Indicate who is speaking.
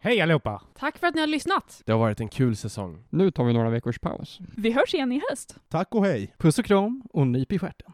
Speaker 1: Hej allihopa!
Speaker 2: Tack för att ni har lyssnat.
Speaker 3: Det har varit en kul säsong.
Speaker 4: Nu tar vi några veckors paus.
Speaker 2: Vi hörs igen i höst.
Speaker 5: Tack och hej!
Speaker 4: Puss och kram och nyp i stjärten.